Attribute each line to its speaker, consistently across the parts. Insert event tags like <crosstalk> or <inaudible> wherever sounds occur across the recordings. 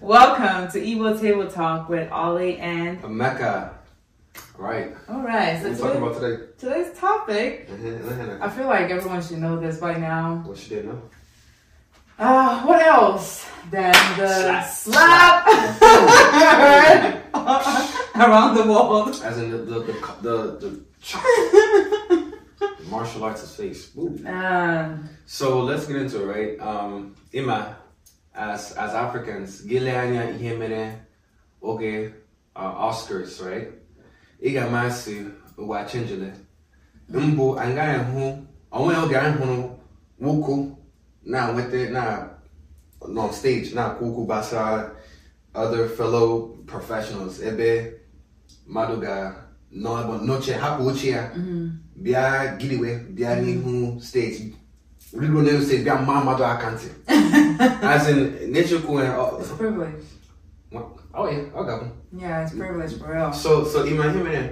Speaker 1: Welcome to Evil Table Talk with Ollie and.
Speaker 2: Mecca. Right.
Speaker 1: All right,
Speaker 2: What
Speaker 1: so
Speaker 2: we talking
Speaker 1: today,
Speaker 2: about today?
Speaker 1: today's topic,
Speaker 2: Uh-huh.
Speaker 1: I feel like everyone should know this by now.
Speaker 2: What she didn't know?
Speaker 1: Uh, what else than the slap, <laughs> around the
Speaker 2: <laughs>
Speaker 1: world?
Speaker 2: As in the the the the, the, chop. <laughs> the martial arts of space. Ooh.
Speaker 1: Um, <laughs>
Speaker 2: So let's get into it, right? Um, Ima, as as Africans, Gileanya Ihemene, okay, uh, Oscars, right? Iga masi uwa chenjele. Mbu anga ehu, onwe oge ehu wuku na wete na on stage na kuku basa other fellow professionals ebe maduga no noche hapu uchia bia gidiwe bia nihu stage Rigo never said, e "Bia mama do akante." As in, nature cool and
Speaker 1: it's
Speaker 2: oh,
Speaker 1: privilege.
Speaker 2: oh yeah, I got one.
Speaker 1: Yeah, it's privilege for real.
Speaker 2: So, so imagine him and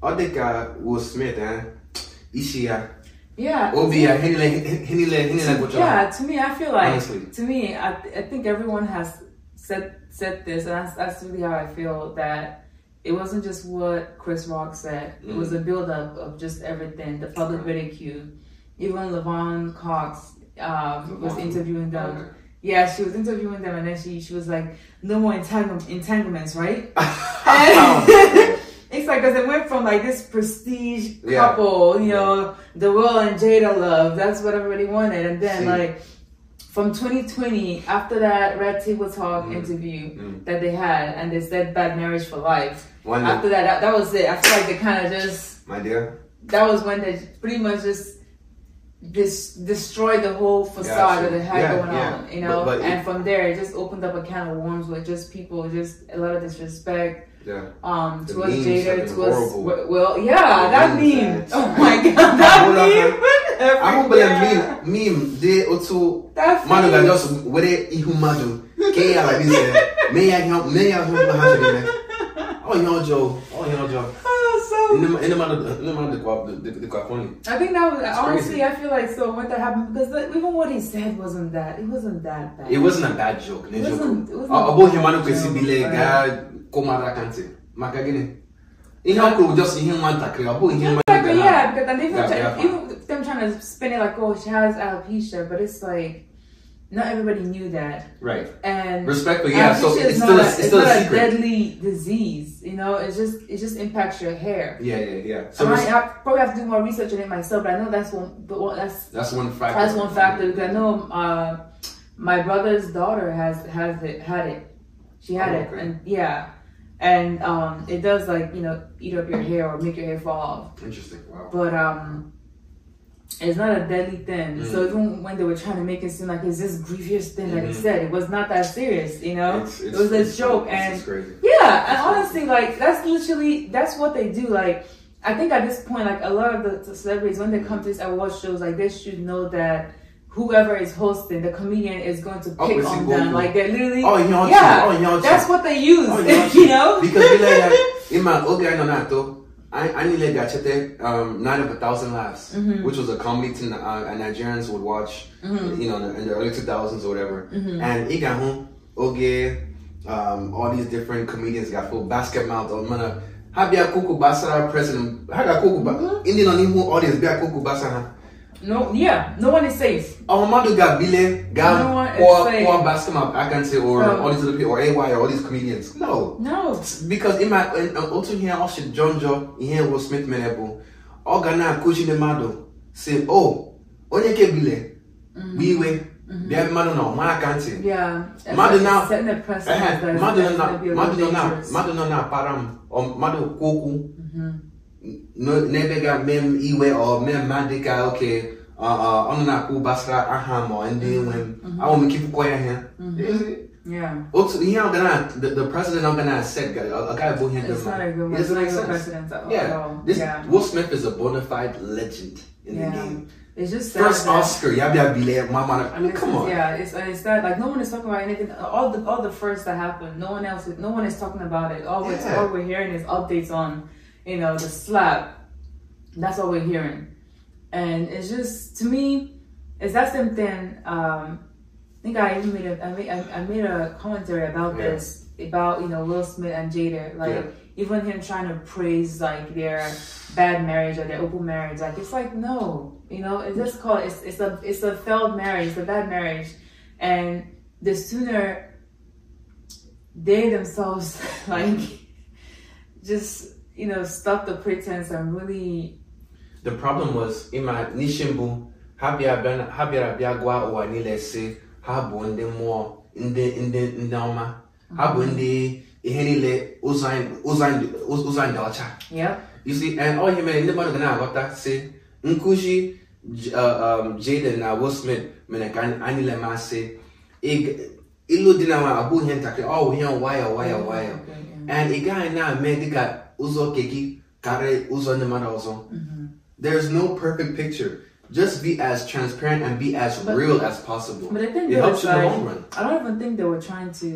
Speaker 2: all the guy Will Smith eh, and Ishia,
Speaker 1: Yeah.
Speaker 2: Obia, Henile, Henile, Henile, Bocha.
Speaker 1: yeah to me i feel like
Speaker 2: Honestly.
Speaker 1: to me I, I think everyone has said said this and that's, that's really how i feel that it wasn't just what chris rock said it
Speaker 2: Mm.
Speaker 1: was a buildup of just everything the public ridicule even levon cox um, was
Speaker 2: Levon?
Speaker 1: interviewing them
Speaker 2: <laughs> Okay.
Speaker 1: yeah she was interviewing them and then she, she was like no more entanglement, entanglements right <laughs> it's like because it went from like this prestige
Speaker 2: Yeah.
Speaker 1: couple, you know, the Will and Jada love. That's what everybody wanted, and then
Speaker 2: See.
Speaker 1: like from 2020 after that Red Table Talk
Speaker 2: Mm.
Speaker 1: interview
Speaker 2: Mm.
Speaker 1: that they had, and they said bad marriage for life.
Speaker 2: One
Speaker 1: After
Speaker 2: day,
Speaker 1: that, that, that was it. I feel like they kind of just
Speaker 2: my dear,
Speaker 1: that was when they pretty much just dis- destroyed the whole facade
Speaker 2: Yeah,
Speaker 1: that they had
Speaker 2: yeah,
Speaker 1: going
Speaker 2: yeah.
Speaker 1: on, you know.
Speaker 2: But- but
Speaker 1: and from there, it just opened up a can of worms with just people, just a lot of disrespect
Speaker 2: yeah.
Speaker 1: um
Speaker 2: The
Speaker 1: towards
Speaker 2: memes have
Speaker 1: Jada,
Speaker 2: been
Speaker 1: towards
Speaker 2: horrible.
Speaker 1: well, yeah,
Speaker 2: The
Speaker 1: that
Speaker 2: memes
Speaker 1: meme.
Speaker 2: and-
Speaker 1: Oh my
Speaker 2: <laughs>
Speaker 1: god, that
Speaker 2: Hold
Speaker 1: meme.
Speaker 2: on,
Speaker 1: Whatever,
Speaker 2: I hope
Speaker 1: yeah.
Speaker 2: that meme, meme, they also
Speaker 1: That
Speaker 2: Mano that
Speaker 1: meme. <laughs>
Speaker 2: just with it, ihu mado. Kaya like this, eh? May I help? May I help? How should I? Oh, y'all Joe. Oh, y'all Joe.
Speaker 1: Oh, so.
Speaker 2: Ene ma- ene ma do- ene ma do kwa- do- do- do kwa funny.
Speaker 1: I think that was
Speaker 2: It's
Speaker 1: honestly.
Speaker 2: crazy.
Speaker 1: I feel like so when that happened because like, even what he said wasn't that. It wasn't that bad.
Speaker 2: It wasn't a bad joke.
Speaker 1: It
Speaker 2: Ne
Speaker 1: wasn't-
Speaker 2: joke.
Speaker 1: it wasn't a
Speaker 2: Abo
Speaker 1: bad
Speaker 2: himano kwesi
Speaker 1: joke,
Speaker 2: bile
Speaker 1: right.
Speaker 2: ga komara kante. Maka gini. Ihe ọkụ just ihe nwa ntakịrị. Ọ bụghị ihe mmadụ
Speaker 1: Like, but
Speaker 2: ga-
Speaker 1: yeah, because and even,
Speaker 2: Yeah,
Speaker 1: try-
Speaker 2: yeah.
Speaker 1: even them trying to spin it like, oh, she has alopecia, but it's like, not everybody knew that.
Speaker 2: Right.
Speaker 1: And
Speaker 2: Respectfully, yeah. So
Speaker 1: alopecia is
Speaker 2: it's
Speaker 1: not
Speaker 2: still a,
Speaker 1: a-
Speaker 2: it's still
Speaker 1: not
Speaker 2: a
Speaker 1: a
Speaker 2: secret.
Speaker 1: deadly disease. You know, it's just it just impacts your hair.
Speaker 2: Yeah, yeah, yeah. So
Speaker 1: I might
Speaker 2: res-
Speaker 1: have, probably have to do more research on it myself, but I know that's one. But one that's
Speaker 2: that's one factor.
Speaker 1: that's one factor because I know uh, my brother's daughter has has it had it. She had
Speaker 2: Oh,
Speaker 1: it,
Speaker 2: okay.
Speaker 1: and yeah, and um, it does like you know eat up your hair or make your hair fall off.
Speaker 2: Interesting. Wow.
Speaker 1: But um, it's not a deadly thing.
Speaker 2: Mm.
Speaker 1: So even when they were trying to make it seem like it's this grievous thing that he
Speaker 2: Mhm.
Speaker 1: said, it was not that serious. You know,
Speaker 2: It's-
Speaker 1: it
Speaker 2: it's-
Speaker 1: was a
Speaker 2: it's-
Speaker 1: joke,
Speaker 2: it's-
Speaker 1: and
Speaker 2: it's crazy.
Speaker 1: yeah, and honestly, like that's literally that's what they do. Like I think at this point, like a lot of the celebrities when they come to these award shows, like they should know that whoever is hosting, the comedian is going to pick
Speaker 2: Oh, is it
Speaker 1: on
Speaker 2: going
Speaker 1: them.
Speaker 2: to-
Speaker 1: Like they're literally,
Speaker 2: Oh, you know,
Speaker 1: yeah,
Speaker 2: oh, you know,
Speaker 1: that's what they use. <laughs>
Speaker 2: Oh, yeah.
Speaker 1: you know,
Speaker 2: because we like that in my old guy no nato I, I need like that um Night of a Thousand Laughs,
Speaker 1: Mm-hmm.
Speaker 2: which was a comedy thing that uh, and Nigerians would watch, you know, in the, in the early 2000s or whatever.
Speaker 1: Mm-hmm.
Speaker 2: And he got home, okay, um, all these different comedians got full basket mouth oh, or mana. Habia Kuku Basa president, Haga Kuku Basa,
Speaker 1: Mm-hmm.
Speaker 2: Indian on him, all this Bia Kuku Basa. huh?
Speaker 1: <laughs> no, yeah, no one is safe.
Speaker 2: Oh, my mother got Bile,
Speaker 1: No one
Speaker 2: got
Speaker 1: is
Speaker 2: or
Speaker 1: saying-
Speaker 2: or basketball, I can say, or
Speaker 1: Bro.
Speaker 2: all these other people, or AY, or all these comedians. No.
Speaker 1: No,
Speaker 2: Because in my and um, also here also John Joe here Will Smith menable. All Ghana coaching the mado say oh onye ke bile
Speaker 1: Mm-hmm.
Speaker 2: biwe there mado no ma kanti.
Speaker 1: yeah, That's
Speaker 2: Mother
Speaker 1: like
Speaker 2: now-
Speaker 1: setting the precedent. that
Speaker 2: Eh
Speaker 1: it's
Speaker 2: mado
Speaker 1: gonna
Speaker 2: na
Speaker 1: be a little
Speaker 2: mado na
Speaker 1: dangerous. Mm-hmm.
Speaker 2: mado na param or mado koku. No never got mem iwe or mem madika okay. Uh, uh, on na ku basra aham or ndi
Speaker 1: Mm-hmm.
Speaker 2: when I want to keep quiet here.
Speaker 1: yeah.
Speaker 2: Also, you know, gonna the, the president I'm gonna set guy, a, a guy who handles
Speaker 1: It's not
Speaker 2: money.
Speaker 1: a good
Speaker 2: It
Speaker 1: one.
Speaker 2: doesn't
Speaker 1: It's not a
Speaker 2: make
Speaker 1: good
Speaker 2: sense.
Speaker 1: precedent at all.
Speaker 2: Yeah, this
Speaker 1: Oh, Yeah.
Speaker 2: Will Smith is a bona fide legend in
Speaker 1: Yeah.
Speaker 2: the game.
Speaker 1: It's just sad
Speaker 2: First
Speaker 1: that-
Speaker 2: Oscar, yabia bile, mama. I mean,
Speaker 1: It's-
Speaker 2: come on.
Speaker 1: Yeah, it's and it's that like no one is talking about anything. All the all the firsts that happened, no one else, no one is talking about it. All we're
Speaker 2: Yeah.
Speaker 1: all we're hearing is updates on, you know, the slap. That's all we're hearing. and it's just to me, it's that same thing. Um, I think I even made a I made, I I made a commentary about
Speaker 2: Yeah.
Speaker 1: this about you know Will Smith and Jada, like
Speaker 2: Yeah.
Speaker 1: even him trying to praise like their bad marriage or their open marriage, like it's like no, you know, it's just called it's it's a it's a failed marriage, it's a bad marriage, and the sooner they themselves <laughs> like just you know stop the pretense and really
Speaker 2: The problem was ima n'ishimbu ha bịa bịa- ha bịara bịa gwa ụwa niile sị ha bụ ndị mmụọ ndị ndị ndị ọma ha bụ ndị ihe niile ụzọ anyị- ụzọ anyị ụzọ anyị dị ọcha
Speaker 1: Yep.
Speaker 2: You see, and all mere ndị mmadụ ga na-aghọta sị nkuzi J- uh, um, Jaden na Will Smith mere ka anyị anyị niile masị Ig- ilu dị na nwa abụghị ihe ntakịrị ọ bụ ihe nwayọọ nwayọọ
Speaker 1: Mm-hmm.
Speaker 2: nwayọọ and ị gaghị na-ame dịka ụzọ keki karịa ụzọ ndị mmadụ ọzọ
Speaker 1: Mm-hmm.
Speaker 2: there's no perfect picture just be as transparent and be as
Speaker 1: But-
Speaker 2: real as possible
Speaker 1: But I think
Speaker 2: it
Speaker 1: they were
Speaker 2: helps you in the
Speaker 1: trying.
Speaker 2: long run
Speaker 1: I don't even think they were trying to.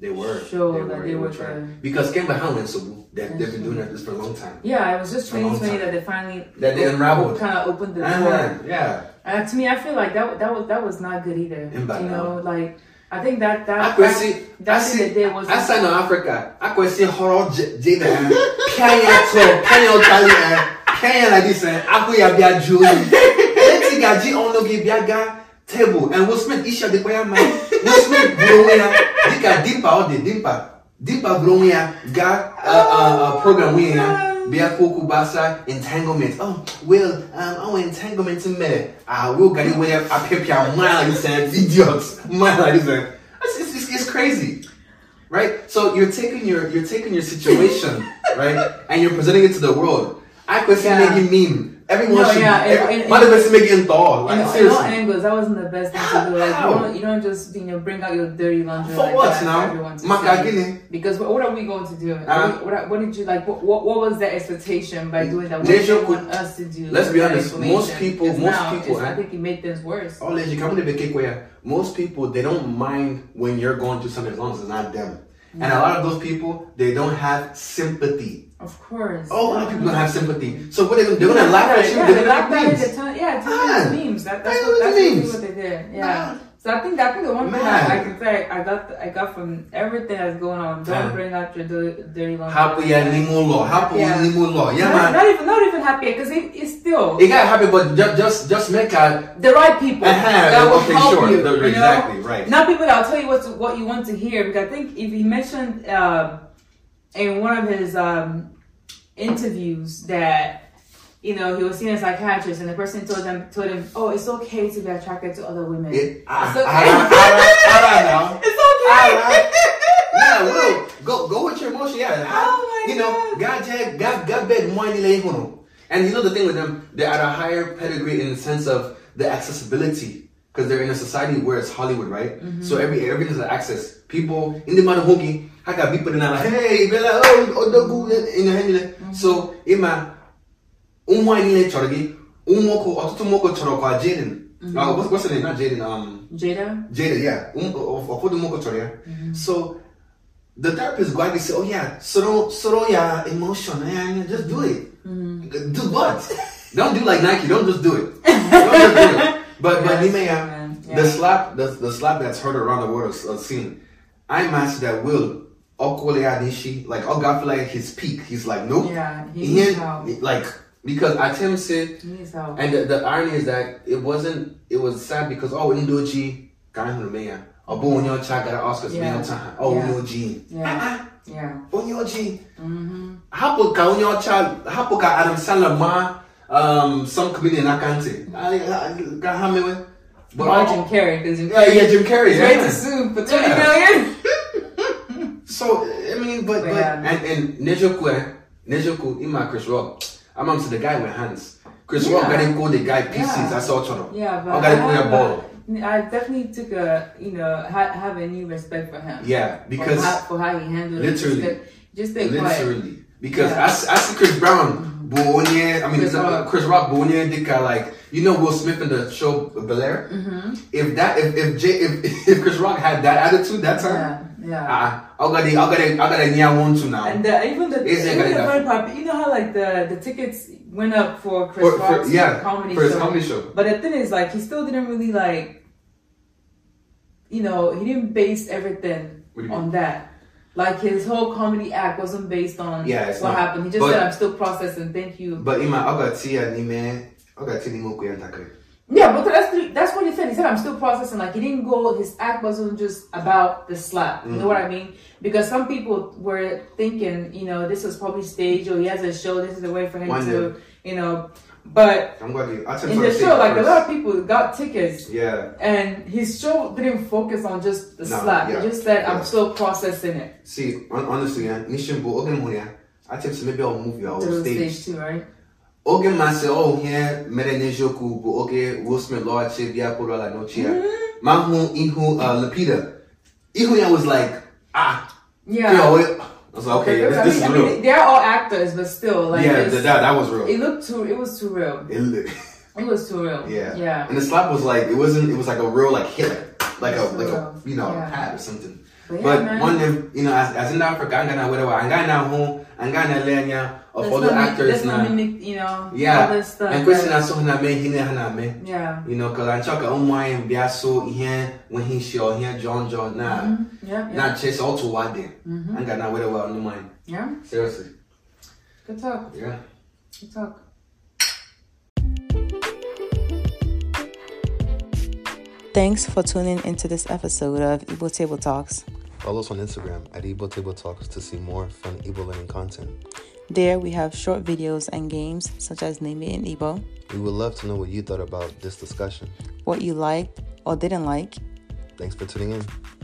Speaker 2: they were
Speaker 1: Sure,
Speaker 2: they
Speaker 1: that
Speaker 2: were,
Speaker 1: they
Speaker 2: they were
Speaker 1: were
Speaker 2: trying
Speaker 1: trying.
Speaker 2: because kemgbe ha nwere nsogbu They- they've been
Speaker 1: That's
Speaker 2: doing this for a long time
Speaker 1: Yeah, it was just
Speaker 2: A long
Speaker 1: 2020
Speaker 2: time.
Speaker 1: that they finally
Speaker 2: That they unraveled.
Speaker 1: Kind of opened the door.
Speaker 2: Uh-huh, yeah
Speaker 1: And to me, I feel like that that was that was not good either.
Speaker 2: And by
Speaker 1: you
Speaker 2: now-
Speaker 1: know, like I think that
Speaker 2: Ah,
Speaker 1: that
Speaker 2: Akwesị,
Speaker 1: that, that
Speaker 2: asị-
Speaker 1: thing that they was
Speaker 2: asa nọ Afrịka akwesị họrọ J- eh? Jada ya, pịa ya tụọ pịa ya ụtalị ya pịa ya na dis ahụ ya bịa jụọ oyi eti gaji ọnụ gị bịa gaa tebụl and Will Smith isi adịkwa ya mma Will Smith buru onwe ya dịka dimpa ọ dị dimpa dimpa buru onwe ya gaa uh, uh, program nwunye ya bịa kwuo okwu gbasa entanglement oh well um, oh entanglement mere ah will gari nwere apịpịa mmaa dise idiot mmaa dise eh? it's, it's, it's crazy right? So you're taking your you're taking your
Speaker 1: <laughs>
Speaker 2: situation, right, and you're presenting it to the world. I question
Speaker 1: Yeah.
Speaker 2: making meme. Everyone
Speaker 1: No,
Speaker 2: should.
Speaker 1: yeah, and-
Speaker 2: every-
Speaker 1: and-
Speaker 2: Mother question making thaw.
Speaker 1: in,
Speaker 2: Like
Speaker 1: in all
Speaker 2: seriously,
Speaker 1: angles, that wasn't the best thing to do. Like
Speaker 2: How?
Speaker 1: you don't you don't just you know bring out your dirty laundry
Speaker 2: For
Speaker 1: like
Speaker 2: what
Speaker 1: that for
Speaker 2: now?
Speaker 1: everyone to
Speaker 2: Maka
Speaker 1: see.
Speaker 2: gini?
Speaker 1: Because what, what are we going to do?
Speaker 2: Uh-huh.
Speaker 1: what, what, what did you like? What, what, what was the expectation by doing that? What
Speaker 2: They
Speaker 1: did you
Speaker 2: should-
Speaker 1: want us to do?
Speaker 2: let's be
Speaker 1: with that
Speaker 2: honest, most
Speaker 1: information?
Speaker 2: people-
Speaker 1: 'Cause
Speaker 2: most
Speaker 1: now
Speaker 2: people,
Speaker 1: it's- I
Speaker 2: huh?
Speaker 1: think it made things worse.
Speaker 2: all you come to the big where most people they don't mind when you're going through something as long as it's not them. And a lot of those people they don't have sympathy.
Speaker 1: Of course.
Speaker 2: A lot of people don't have sympathy. So what they gonna, they're gonna laugh at you.
Speaker 1: Yeah,
Speaker 2: They're
Speaker 1: they laughed
Speaker 2: gonna
Speaker 1: at
Speaker 2: make
Speaker 1: it, they
Speaker 2: memes.
Speaker 1: turned- yeah, they
Speaker 2: Ah.
Speaker 1: turned it into memes. That, that's
Speaker 2: They
Speaker 1: what,
Speaker 2: turned
Speaker 1: that's
Speaker 2: it
Speaker 1: really
Speaker 2: memes.
Speaker 1: what they did.
Speaker 2: Ah.
Speaker 1: Yeah. So I think I think the one thing
Speaker 2: Man.
Speaker 1: I, I can say I got I got from everything that's going on. Don't
Speaker 2: Man.
Speaker 1: bring out your dirty, dirty laundry.
Speaker 2: Happy ya nimo law. Happy ya
Speaker 1: Yeah.
Speaker 2: nimo law.
Speaker 1: not,
Speaker 2: Yeah man.
Speaker 1: not even not even happy because it, it's still
Speaker 2: It got happy, but just just just make a
Speaker 1: the right people
Speaker 2: Uh-huh,
Speaker 1: that will
Speaker 2: okay,
Speaker 1: help
Speaker 2: sure,
Speaker 1: you.
Speaker 2: the-
Speaker 1: you know?
Speaker 2: exactly, right.
Speaker 1: Not people that will tell you what to, what you want to hear. Because I think if he mentioned um in one of his um, interviews that you know he was seeing a psychiatrist and the person told them told him, oh, it's okay to be attracted to other women.
Speaker 2: It,
Speaker 1: It's
Speaker 2: I,
Speaker 1: okay.
Speaker 2: I, I, I, I
Speaker 1: <laughs>
Speaker 2: don't know.
Speaker 1: It's okay.
Speaker 2: Yeah, well, go go with your emotion. Yeah, I-
Speaker 1: Oh my
Speaker 2: you know, God, God, God, God beg money lay home. And you know the thing with them, they're at a higher pedigree in the sense of the accessibility, because they're in a society where it's Hollywood, right?
Speaker 1: Mm-hmm.
Speaker 2: So every everything is access. People in the Manahoki, I got people in like, hey, be like, oh, oh, the good," in your hand. like-
Speaker 1: Mm-hmm.
Speaker 2: So in my ụmụ anyị niile chọrọ gị ụmụ nwoke ọtụtụ ụmụ nwoke chọrọ kwa Jaden.
Speaker 1: Mm-hmm.
Speaker 2: Uh, what's, what's her name? Not Jaden. Um,
Speaker 1: Jada.
Speaker 2: Jada, yeah. Um, of, of what the Moko told her.
Speaker 1: Mm-hmm.
Speaker 2: So the therapist go out and say, Oh yeah, sorrow sorrow your emotion, yeah, yeah, just do it.
Speaker 1: Mm-hmm.
Speaker 2: Do what? <laughs> don't do like Nike, don't just
Speaker 1: <laughs>
Speaker 2: do it. don't just do it. But but
Speaker 1: Yes,
Speaker 2: Nima, yeah,
Speaker 1: man,
Speaker 2: the
Speaker 1: yeah.
Speaker 2: slap the, the slap that's heard around the world is uh, seen. I imagine that will Okwole Adishi, like oh God feel like his peak. He's like, nope.
Speaker 1: Yeah, he
Speaker 2: He
Speaker 1: needs
Speaker 2: ain't-
Speaker 1: help.
Speaker 2: like because Atem said
Speaker 1: He needs help.
Speaker 2: and the, the irony is that it wasn't. It was sad because oh, Indoji got him the mayor. Oh, but when your child got an Oscar, it's
Speaker 1: Yeah.
Speaker 2: mayor time. Oh,
Speaker 1: Yeah.
Speaker 2: Onyoji.
Speaker 1: Yeah. yeah.
Speaker 2: Uh-uh. Onyoji.
Speaker 1: Mm-hmm.
Speaker 2: Hapo ka Onyocha. Hapo ka Adam Sandler ma um some comedian Ah, I can't say. I got him anyway. But
Speaker 1: But Jim Carrey because
Speaker 2: yeah, yeah, Jim Carrey.
Speaker 1: Ready to
Speaker 2: Yeah.
Speaker 1: sue for
Speaker 2: Yeah.
Speaker 1: twenty million.
Speaker 2: So I mean, but but
Speaker 1: Yeah.
Speaker 2: and and Nejoku, eh, Nejoku, Ima Chris Rock. I'm on to the guy with hands. Chris Rock
Speaker 1: Yeah.
Speaker 2: got to go the guy pieces.
Speaker 1: Yeah.
Speaker 2: I saw Choro.
Speaker 1: Yeah, but
Speaker 2: I got to go
Speaker 1: have
Speaker 2: your ball.
Speaker 1: a- I definitely took a you know ha- have a new respect for him.
Speaker 2: Yeah, because
Speaker 1: for how, for how he handled
Speaker 2: Literally.
Speaker 1: it. Just stay- Just stay quiet.
Speaker 2: Literally. Because
Speaker 1: Yeah.
Speaker 2: I, see- I see Chris Brown, Bologna, I mean,
Speaker 1: Chris
Speaker 2: Chris Rock,
Speaker 1: Rock.
Speaker 2: Chris Rock Bologna, Dicka, like, you know Will Smith in the
Speaker 1: Mm-hmm.
Speaker 2: <laughs> show Bel Air? If that, if, if, J, if, if Chris Rock had that attitude that time,
Speaker 1: Yeah. Yeah.
Speaker 2: Ah, I got the, I got the, I got the near one two now.
Speaker 1: And the, even the
Speaker 2: Is
Speaker 1: even
Speaker 2: it gonna
Speaker 1: the
Speaker 2: go-
Speaker 1: funny part, you know how like the the tickets went up for Chris
Speaker 2: For, for,
Speaker 1: Rock's
Speaker 2: yeah,
Speaker 1: comedy
Speaker 2: for his
Speaker 1: show.
Speaker 2: comedy show.
Speaker 1: But the thing is, like, he still didn't really like, you know, he didn't base everything
Speaker 2: What do you mean?
Speaker 1: on that. Like his whole comedy act wasn't based on
Speaker 2: Yeah, it's
Speaker 1: what
Speaker 2: not.
Speaker 1: happened. He just
Speaker 2: But-
Speaker 1: said, "I'm still processing. Thank you."
Speaker 2: But ima, I got tea and ime, I got tea nimo kuya ntakre.
Speaker 1: yeah, but that's the- that's what he said. He said, "I'm still processing." Like he didn't go. His act wasn't just about the slap. You know what I
Speaker 2: Mm-hmm.
Speaker 1: mean? Because some people were thinking, you know, this was probably staged, or he has a show. This is a way for him
Speaker 2: One
Speaker 1: to, you know. But
Speaker 2: I'm gonna do. I think
Speaker 1: in
Speaker 2: for the
Speaker 1: the
Speaker 2: sake
Speaker 1: show, like a
Speaker 2: first.
Speaker 1: lot of people got tickets.
Speaker 2: Yeah.
Speaker 1: And his show didn't focus on just the
Speaker 2: No,
Speaker 1: slap.
Speaker 2: yeah,
Speaker 1: He just said,
Speaker 2: yeah.
Speaker 1: I'm still processing it.
Speaker 2: See, hon- honestly, yeah, nishin bo ogen mo ya. I think so maybe I'll move you out
Speaker 1: To
Speaker 2: of stage.
Speaker 1: stage two, right?
Speaker 2: Ogen man say, oh yeah, mere nejoku bo oge Will Smith law che dia polo la no chia.
Speaker 1: Mm-hmm.
Speaker 2: Mahu ihu uh, Lapita. Ihu ya was like ah.
Speaker 1: Yeah.
Speaker 2: yo, it- I was like, okay,
Speaker 1: Because,
Speaker 2: this, this
Speaker 1: I
Speaker 2: is
Speaker 1: mean, I mean,
Speaker 2: real.
Speaker 1: they're all actors, but still, like,
Speaker 2: Yeah,
Speaker 1: it's-
Speaker 2: that that that was real.
Speaker 1: it looked too, it was too real.
Speaker 2: It li- <laughs>
Speaker 1: It was too real.
Speaker 2: yeah.
Speaker 1: Yeah.
Speaker 2: And the slap was like it wasn't. It was like a real like hit, like, like a like a you know
Speaker 1: Yeah.
Speaker 2: pat or something.
Speaker 1: But,
Speaker 2: But
Speaker 1: yeah, man.
Speaker 2: one of them, you know, as, as in Africa, I'm gonna whatever, I'm gonna home, I'm gonna Lenya, of
Speaker 1: Let's
Speaker 2: all the
Speaker 1: not mi-
Speaker 2: actors
Speaker 1: let's not
Speaker 2: now.
Speaker 1: mimic, you know, all
Speaker 2: Yeah.
Speaker 1: this stuff.
Speaker 2: And question I saw him, he him,
Speaker 1: yeah.
Speaker 2: you know, because I talk about why and be so here when he show here John John nah,
Speaker 1: Mhm. Yeah. Yeah.
Speaker 2: nah chase all to what then.
Speaker 1: Mhm.
Speaker 2: I'm gonna whatever no mind.
Speaker 1: yeah.
Speaker 2: Seriously,
Speaker 1: Good talk.
Speaker 2: yeah.
Speaker 1: Good talk.
Speaker 3: Thanks for tuning into this episode of Igbo Table Talks.
Speaker 4: Follow us on Instagram at Igbo Table Talks to see more fun Igbo learning content.
Speaker 3: There we have short videos and games such as Name It in Igbo,
Speaker 4: We would love to know what you thought about this discussion.
Speaker 3: what you liked or didn't like.
Speaker 4: Thanks for tuning in.